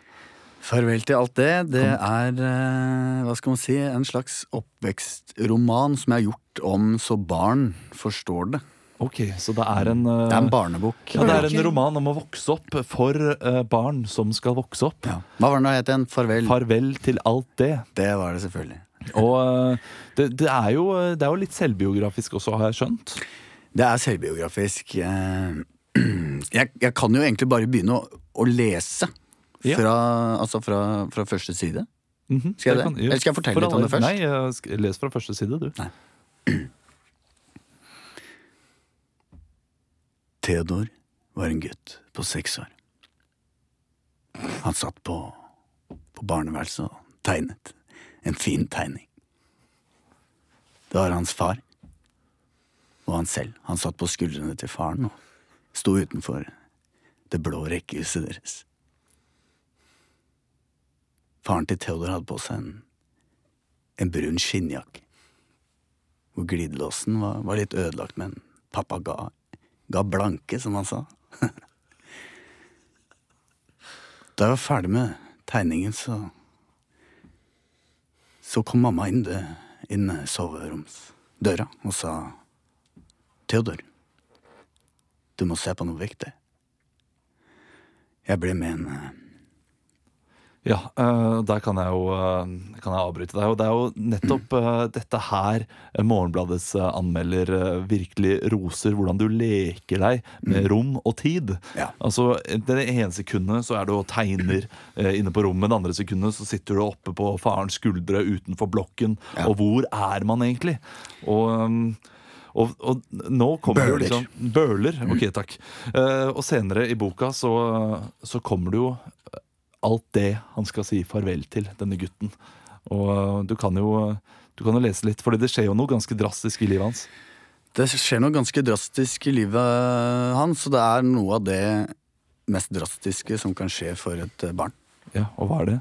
S2: Farvel til alt det. Det er, eh, hva skal man si, en slags oppvekstroman som jeg har gjort om så barn forstår det.
S1: Ok, Så det er en eh,
S2: Det er en barnebok.
S1: ja, det er en roman om å vokse opp for eh, barn som skal vokse opp.
S2: Ja. Hva var det nå het igjen? Farvel.
S1: Farvel til alt det.
S2: det var det selvfølgelig.
S1: Og eh, det, det, er jo, eh, det er jo litt selvbiografisk også, har jeg skjønt.
S2: Det er selvbiografisk. Eh, Jeg, jeg kan jo egentlig bare begynne å, å lese
S1: Ja.
S2: fra, altså fra, fra første side.
S1: Mhm,
S2: Skal jeg det?
S1: kan-
S2: Eller skal jeg fortelle
S1: For
S2: litt om
S1: alle-
S2: det først?
S1: Nei, eh, sk- Les fra første side, du.
S2: Theodor var en gutt på seks år. Han satt på, på barneværelset og tegnet en fin tegning. Det var hans far og han selv. Han satt på skuldrene til faren og sto utenfor det blå rekkehuset deres. Faren til Theodor hadde på seg en, en brun skinnjakke, hvor glidelåsen var, var litt ødelagt, men pappa ga ga blanke, som han sa. da jeg var ferdig med tegningen, så Så kom mamma inn, det, inn soveromsdøra og sa Theodor, du må se på noe viktig. Jeg ble med en eh,
S1: Ja, eh, der kan jeg jo eh, kan jeg avbryte deg. Og det er jo nettopp eh, dette her eh, Morgenbladets eh, anmelder eh, virkelig roser. Hvordan du leker deg med rom og tid.
S2: Mm. Ja.
S1: Altså, Det ene sekundet så er du og tegner eh, inne på rommet. Det andre sekundet så sitter du oppe på farens skuldre utenfor blokken.
S2: Ja.
S1: Og hvor er man egentlig? Og... ehm, og, og nå kommer
S2: Bøler.
S1: det jo liksom Bøler. Ok, takk. Eh, og senere i boka så, så kommer det jo alt det han skal si farvel til, denne gutten. Og eh, du kan jo du kan jo lese litt, for det skjer jo noe ganske drastisk i livet hans.
S2: Det skjer noe ganske drastisk i livet hans, og det er noe av det mest drastiske som kan skje for et eh, barn.
S1: Ja, Og hva er det?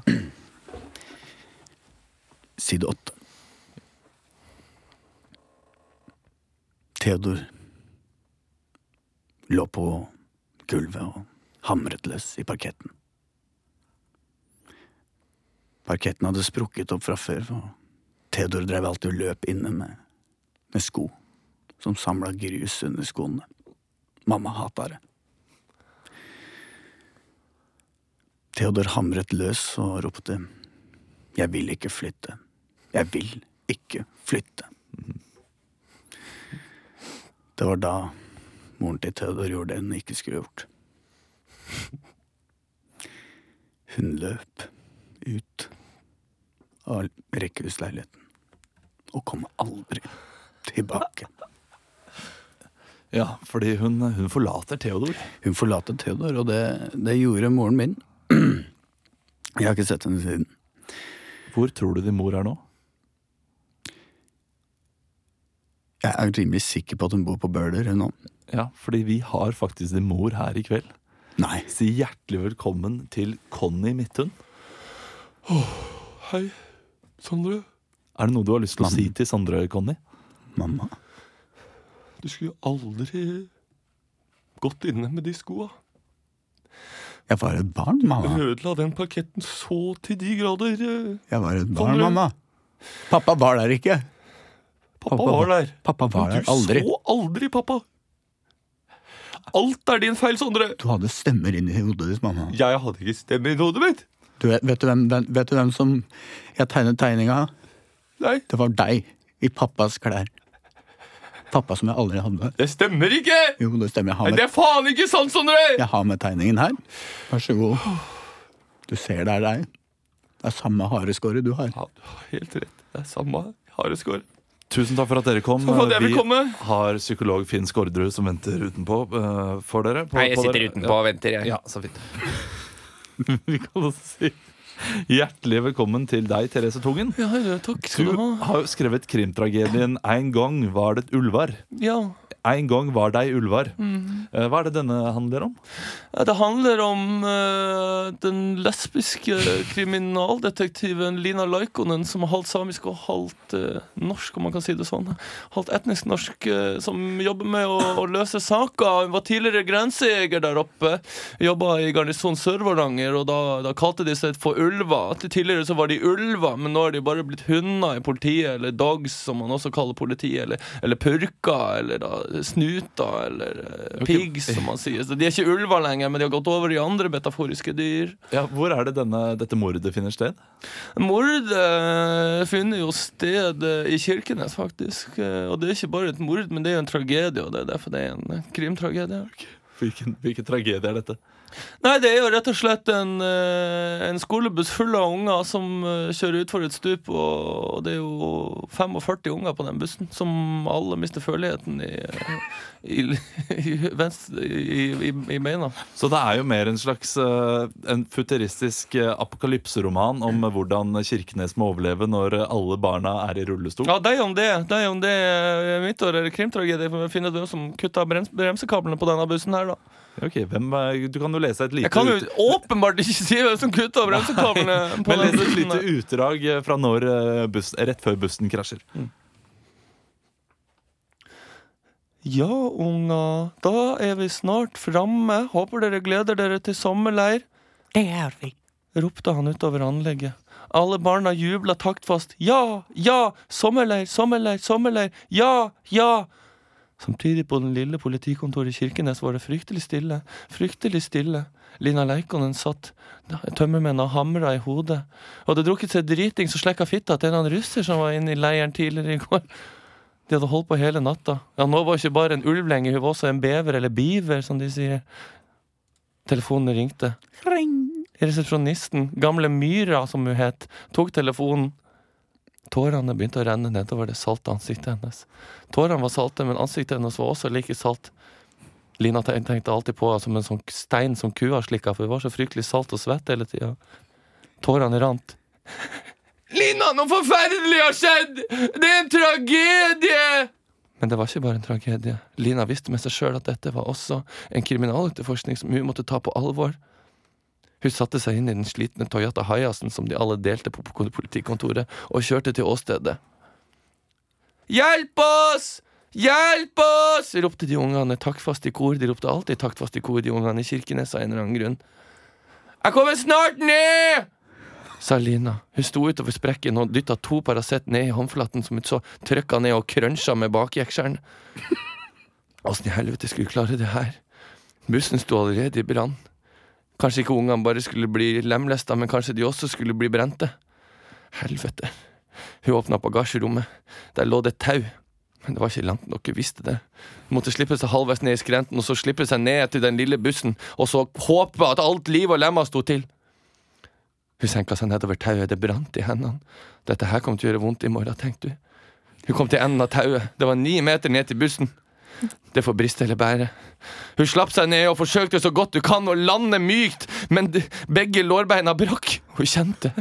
S2: side åtte. Theodor lå på gulvet og hamret løs i parketten. Parketten hadde sprukket opp fra før, og Theodor drev alltid og løp inne med, med sko som samla grus under skoene. Mamma hata det. Theodor hamret løs og ropte jeg vil ikke flytte. Jeg vil ikke flytte. Det var da moren til Theodor gjorde det hun ikke skulle gjort. Hun løp ut av rekkehusleiligheten og kom aldri tilbake.
S1: Ja, fordi hun, hun forlater Theodor.
S2: Hun forlater Theodor, og det, det gjorde moren min. Jeg har ikke sett henne siden.
S1: Hvor tror du din mor er nå?
S2: Jeg er rimelig sikker på at hun bor på Bøler, hun òg.
S1: Ja, fordi vi har faktisk din mor her i kveld.
S2: Nei.
S1: Si hjertelig velkommen til Conny Midthun.
S3: Hei, Sondre.
S1: Er det noe du har lyst til å si til Sandra, Conny?
S2: Mamma.
S3: Du skulle aldri gått inne med de skoa.
S2: Jeg var et barn, mamma.
S3: Ødela den parketten så til de grader. eh,
S2: Jeg var et
S3: Kommer
S2: barn,
S3: du?
S2: mamma. Pappa var der ikke.
S3: Pappa
S2: Pappa
S3: var der.
S2: Pappa var
S3: Men
S2: der
S3: du
S2: aldri.
S3: så aldri pappa. Alt er din feil, Sondre.
S2: Du hadde stemmer inni hodet ditt, mamma.
S3: Jeg hadde ikke stemme i hodet mitt.
S2: Du vet, vet, du hvem, hvem- vet du hvem som jeg tegnet tegninga av?
S3: Nei,
S2: Det var deg. I pappas klær. Pappa som jeg aldri hadde.
S3: det stemmer ikke!
S2: Jo, det stemmer. Jeg har
S3: Nei,
S2: med,
S3: det er faen ikke sant, Sondre!
S2: jeg har med tegningen her. Vær så god. Du ser det er deg. Det er samme hareskåret du har.
S3: Ja, du har helt rett. Det er samme hareskår.
S1: Tusen takk for at dere kom.
S3: Takk for at jeg fikk komme.
S1: Vi har psykolog Finn Skårderud som venter utenpå eh, for dere. På,
S7: Nei, jeg
S1: på
S7: sitter
S1: dere.
S7: utenpå og venter, jeg.
S1: Ja, så fint. Vi kan også si hjertelig velkommen til deg, Therese Tungen.
S3: Ja, ja, takk
S1: Du
S3: skal du ha.
S1: har jo skrevet krimtragedien 'En gang var det et ulvar'.
S3: Ja,
S1: En gang var dei ulvar.
S3: Mhm.
S1: Eh, Hva er det denne handler om?
S3: Ja, Det handler om eh, den lesbiske kriminaldetektiven Lina Laikonen, som er halvt samisk og halvt eh, norsk, om man kan si det sånn. Halvt etnisk norsk, eh, som jobber med å, å løse saker. Hun var tidligere grensejeger der oppe. Jobba i garnison sånn Sør-Varanger, og da, da kalte de seg for ulver. Til Tidligere så var de ulver, men nå er de bare blitt hunder i politiet, eller dogs, som man også kaller politiet, eller, eller purker, eller da, snuter, eller eh, pigs, som man sier. Så de er ikke ulver lenger, men de har gått over i andre metaforiske dyr.
S1: Ja, hvor er det denne, dette mordet finner sted?
S3: Mordet finner eh, jo sted eh, i Kirkenes, faktisk. Eh, Og det er ikke bare et mord, men det er jo en tragedie, og det er derfor det er en eh, krimtragedie.
S1: Hvilken, hvilken tragedie er dette?
S3: Nei, det er jo rett og slett en, eh, en skolebuss full av unger som eh, kjører utfor et stup, og og det er jo 45 unger på den bussen, som alle mister føleligheten i, eh, i, i, venstre, i, i, i beina.
S1: Så det er jo mer en slags eh, en futuristisk eh, apokalypseroman
S3: Mm.
S1: om eh, hvordan Kirkenes må overleve når eh, alle barna er i rullestol.
S3: Ja, deg om det. Deg om det. eh, Mitt år er det krimtragedie, for vi finner ut hvem som kutta brems bremsekablene på denne bussen her, da.
S1: Ok, hvem, eh, Du kan jo lese et lite,
S3: Jeg kan jo
S1: ut-
S3: åpenbart ikke si hvem som kutta bremsekablene på
S1: men
S3: den
S1: les et
S3: bussen.
S1: lite
S3: her.
S1: utdrag eh, fra når eh, bussen, rett før bussen krasjer.
S3: Ja, unga, da er vi snart framme. Håper dere gleder dere til sommerleir.
S5: Det er vi.
S3: ropte han utover anlegget. Alle barna jubla taktfast. Ja, ja, sommerleir, sommerleir, sommerleir, ja, ja! Samtidig på den lille politikontoret i Kirkenes var det fryktelig stille, fryktelig stille. Lina Leikonen satt, tømmermenn og hamra i hodet. Og hadde drukket seg dritings og slekka fitta til en av russer som var inne i leiren tidligere i går. De hadde holdt på hele natta. Ja, nå var hun ikke bare en ulv lenger, hun var også en bever, eller biver, som de sier. Telefonen ringte. Resepsjonisten, gamle Myra som hun het, tok telefonen. Tårene begynte å renne nedover det salte ansiktet hennes. Tårene var salte, men ansiktet hennes var også like salt. Lina ten- tenkte alltid på henne som en sånn stein som kua slikka, for hun var så fryktelig salt og svett hele tida. Tårene rant. Lina, noe forferdelig har skjedd! Det er en tragedie! Men det var ikke bare en tragedie. Lina visste med seg sjøl at dette var også en kriminaletterforskning som hun måtte ta på alvor. Hun satte seg inn i den slitne Toyota Hiacen som de alle delte på på politikontoret, og kjørte til åstedet. Hjelp oss! Hjelp oss! ropte de ungene taktfast i kor. De ropte alltid taktfast i kor, de ungene i Kirkenes av en eller annen grunn. Jeg kommer snart ned! sa Lina. Hun sto utover sprekken og dytta to Paracet ned i håndflaten, som hun så trykka ned og krønsja med bakjekselen. Åssen i helvete skulle hun klare det her? Bussen sto allerede i brann. Kanskje ikke ungene bare skulle bli lemlesta, men kanskje de også skulle bli brente. Helvete. Hun åpna bagasjerommet. Der lå det et tau. Men det var ikke langt nok, hun visste det. Hun måtte slippe seg halvveis ned i skrenten, og så slippe seg ned til den lille bussen, og så håpe at alt liv og lemma sto til. Hun senka seg nedover tauet, det brant i hendene. Dette her kom til å gjøre vondt i morgen, tenkte hun. Hun kom til enden av tauet. Det var ni meter ned til bussen. Det får briste eller bære. Hun slapp seg ned og forsøkte så godt hun kan å lande mykt, men d- begge lårbeina brakk. Hun kjente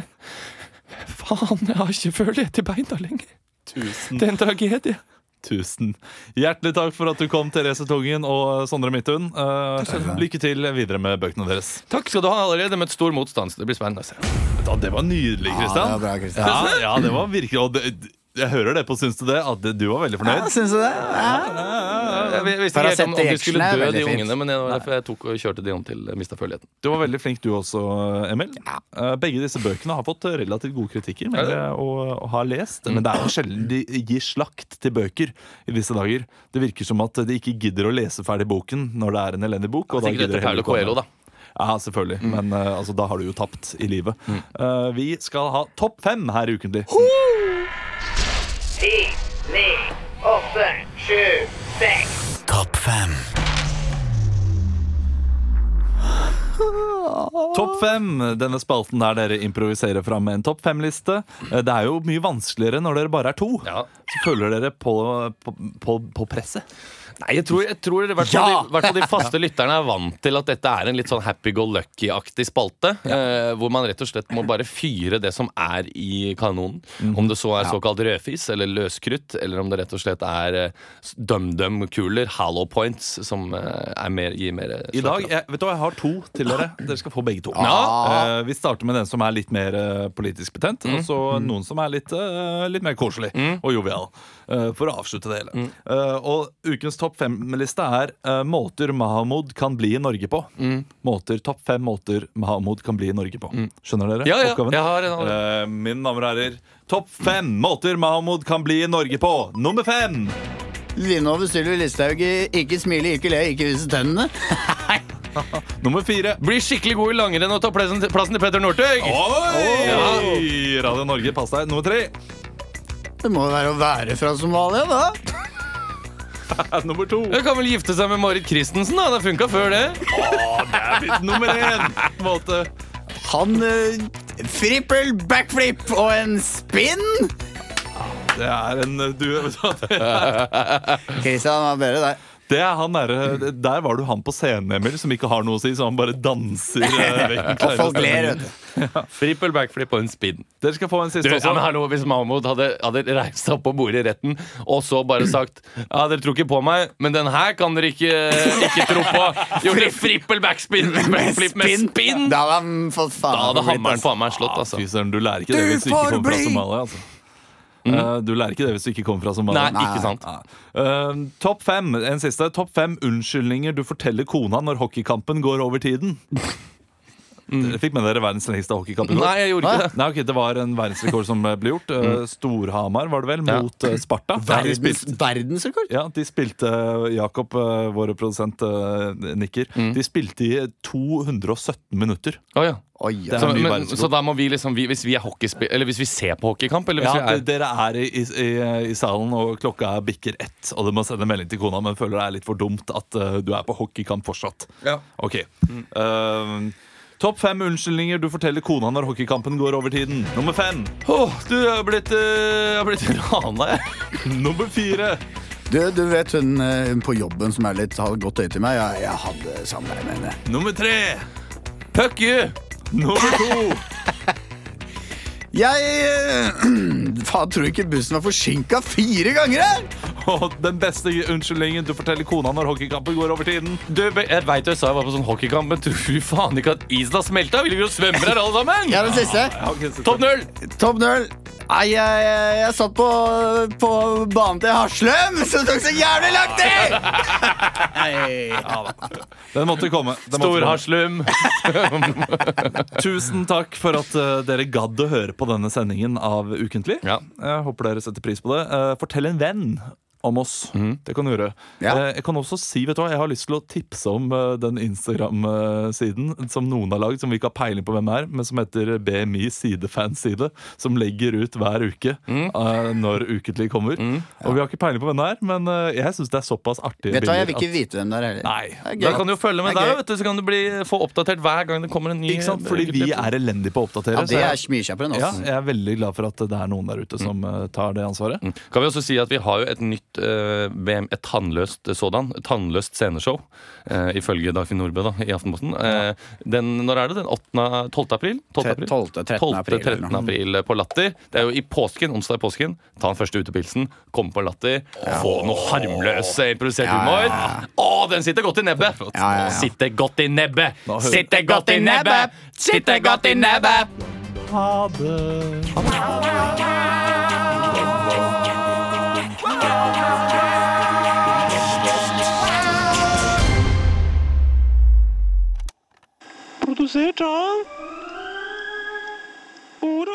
S3: Faen, jeg har ikke følelse til beina lenger.
S1: Tusen,
S3: Det er en tragedie.
S1: tusen Hjertelig takk for at du kom, Therese Tungen og Sondre Midthun. Eh, lykke til videre med bøkene deres.
S3: Takk skal du ha. Jeg har Allerede møtt stor motstand, så det blir spennende å se.
S1: Ja, det var nydelig,
S2: Ja, det var
S1: Kristian.
S2: bra, Kristian.
S1: Ja, ja, det var virkelig og det, Jeg hører det på Syns du det? At det- du var veldig
S2: Ja,
S1: fornøyd?
S2: syns du det? Ja.
S3: Jeg jeg visste ikke helt om, om de skulle dø,
S2: Paracet i action er
S3: de
S2: veldig fint.
S3: ungene, men jeg, derfor jeg tok og kjørte de om til jeg mista føleligheten.
S1: Du var veldig flink du også, Emil. Eh, Begge disse bøkene har fått relativt gode kritikker men,
S3: Ja. Mm.
S1: og, og har lest. Men det er jo sjelden de gir slakt til bøker i disse dager. Det virker som at de ikke gidder å lese ferdig boken når det er en elendig bok. og da
S3: Sikkert
S1: gidder de
S3: etter
S1: heller
S3: Paulo
S1: ikke
S3: Coelho,
S1: å ha den.
S3: da. Mm.
S1: Ja, selvfølgelig. Men eh, altså, da har du jo tapt i livet. Eh, vi skal ha topp fem her ukentlig.
S8: ti, ni, åtte, sju, seks.
S2: Topp fem.
S1: Topp fem, denne spalten der dere improviserer fram en topp fem-liste. Eh, Det er jo mye vanskeligere når dere bare er to.
S3: Ja.
S1: Så føler dere på, på, på, på presset.
S3: Nei, jeg tror, jeg tror i hvert fall de, i hvert fall de faste lytterne er vant til at dette er en litt sånn happy-go-lucky-aktig spalte. Eh, hvor man rett og slett må bare fyre det som er i kanonen. Om det så er såkalt rødfis eller løskrutt, eller om det rett og slett er eh, s- dum-dum-kuler, hollow points, som eh, er mer, gir mer eh,
S1: I dag,
S3: slagkraft.
S1: jeg, vet du hva, jeg har to til dere. Dere skal få begge to.
S3: Ja.
S1: Eh, vi starter med den som er litt mer eh, politisk betent,
S3: Mm.
S1: og så noen som er litt, eh, litt mer koselig og jovial. eh, for å avslutte det
S3: Mm.
S1: hele. Eh, og ukens topp fem-liste er eh, måter Mahamud kan bli i Norge på.
S3: Mm.
S1: Måter, Topp fem måter Mahamud kan bli i Norge på. Skjønner dere
S3: Ja, ja,
S1: oppgaven?
S3: jeg har en allerede.
S1: Eh, mine damer og herrer, topp fem måter Mahamud kan bli i Norge på. Nummer fem!
S2: Linnove Sylvi Listhaug i Ikke smile, ikke le, ikke vise tennene.
S1: Nummer fire.
S3: Blir skikkelig god i langrenn og tar plassen til, plassen til Petter Northug!
S1: Oi! Radio Norge, pass deg. Nummer tre.
S2: Det må jo være å være fra Somalia, da.
S1: Nummer to.
S3: Du kan vel gifte seg med Marit Christensen, da? Det funka før, det.
S1: Nummer én. på en Måte.
S2: Han eh, frippel, backflip og en spinn.
S1: Det er en eh, du, vet du hva, det-
S2: Kristian, hva bedre deg?
S1: det er han der, der var du han på scenen, Emil, som ikke har noe å si, så han bare danser eh, vekk. den
S2: Og
S1: kleine
S2: folk ler,
S1: stemningen.
S2: vet du.
S3: Frippel, backflip og en spinn.
S1: Dere skal få en
S3: Du,
S1: siste
S3: ja,
S1: også.
S3: men hallo, Hvis Mahmoud hadde, hadde reist seg opp på bordet i retten og så bare sagt Ja, dere tror ikke på meg, men den her kan dere ikke, ikke tro på. Gjorde frippel backspin, backflip med spinn!
S2: Da hadde han fått faen.
S3: Da hadde
S2: for blitt,
S3: hammeren
S2: altså.
S3: faen meg slått, altså.
S1: Fy søren, du lærer ikke det hvis du ikke kommer fra Somalia. Altså.
S2: Mm.
S1: Eh, Du lærer ikke det hvis du ikke kommer fra Somalia.
S3: Nei, ikke sant.
S1: Eh, topp fem en siste. Topp fem unnskyldninger du forteller kona når hockeykampen går over tiden. Dere fikk med dere verdens lengste hockeykamp i går?
S3: Mm. Nei, jeg gjorde ikke det. Mm.
S1: Nei, ok, Det var en verdensrekord som ble gjort. Eh, Storhamar, var det vel,
S3: Ja.
S1: mot eh, Sparta. Der de
S2: Verdens,
S1: spilte-
S2: verdensrekord?
S1: ja, de spilte Jakob, eh, vår produsent, eh, nikker.
S3: Mm.
S1: De spilte i 217 minutter.
S3: Å, ja.
S2: Oi,
S1: Det
S2: oi.
S3: så,
S1: er mye
S3: men,
S1: verdensrekord.
S3: så da må vi liksom vi, Hvis vi er hockeyspill Eller hvis vi ser på hockeykamp eller hvis
S1: Ja,
S3: vi
S1: at dere er i, i, i salen, og klokka er bikker ett, og du må sende melding til kona, men føler det er litt for dumt at eh, du er på hockeykamp fortsatt.
S3: Ja.
S1: Ok. Eh, Topp fem unnskyldninger du forteller kona når hockeykampen går over tiden. Nummer fem.
S3: er Åh, du, jeg har blitt, eh, jeg har blitt rana, jeg.
S1: Nummer fire.
S2: Du, du vet hun, eh, hun på jobben som er litt, har godt øye til meg? Jeg, jeg hadde samleie med henne.
S1: Nummer tre.
S3: Fuck you!
S1: Nummer to.
S2: Jeg eh, faen, tror ikke bussen var forsinka fire ganger her!
S1: Og den beste unnskyldningen du forteller kona når hockeykampen går over tiden.
S3: Du, jeg veit du sa jeg var på sånn hockeykamp, men tror du faen ikke at isen har smelta? Vi ligger og svømmer her alle sammen!
S2: Ja, den siste.
S3: Topp null!
S2: Topp null. Nei, jeg, jeg, jeg satt på, på banen til Haslum, så det tok så jævlig lang tid! Nei.
S1: Den måtte komme. Den måtte komme.
S3: Storharslum.
S1: Tusen takk for at eh, dere gadd å høre på denne sendingen av Ukentlig.
S3: Ja.
S1: Jeg håper dere setter pris på det. Eh, fortell en venn om oss. Det kan du gjøre.
S2: Mhm. Ja.
S1: Eh, Jeg kan også si, vet du hva, jeg har lyst til å tipse om eh, den Instagram-siden som noen har lagd, som vi ikke har peiling på hvem er, men som heter BMI sidefanside, som legger ut hver uke
S2: Mhm.
S1: eh, når uketlig kommer. Og vi har ikke peiling på hvem det er, men eh, jeg syns det er såpass artige
S2: Vet du hva, jeg vil
S1: bilder
S2: ikke
S1: at-
S2: vite hvem det er heller.
S1: Nei.
S2: Det er gøy.
S3: Da kan du jo følge med
S2: Det
S3: der,
S2: er gøy.
S3: vet du, så kan du bli, få oppdatert hver gang det kommer en ny
S1: Ikke sant? Fordi vi er elendige på å oppdatere.
S2: Ja,
S1: så
S2: det
S1: jeg-
S2: er altså. mye kjappere enn
S1: ja,
S2: oss.
S1: jeg er veldig glad for at det er noen der ute som
S2: Mm.
S1: eh, tar det ansvaret.
S3: Kan vi også si at vi har jo et nytt eh, VM, et tannløst sådan, et tannløst sceneshow, eh, ifølge Dagfinn Nordbø da, i Aftenposten. Eh, den, når er det? Den 8, 12. april? 12. april?
S2: 12., 13.
S3: 12.,
S2: april,
S3: 13.
S2: eller noe.
S3: april eh, på Latter. Det er jo i påsken, onsdag i påsken. Ta den første utepilsen, kom på Latter, få noe harmløs eh, improvisert humor. Å, den sitter godt i nebbet!
S2: ja, ja.
S3: Sitter godt i nebbet!
S1: hører-
S3: Sitter godt i nebbet! Sitter godt i nebbet!
S9: Produsert av Ora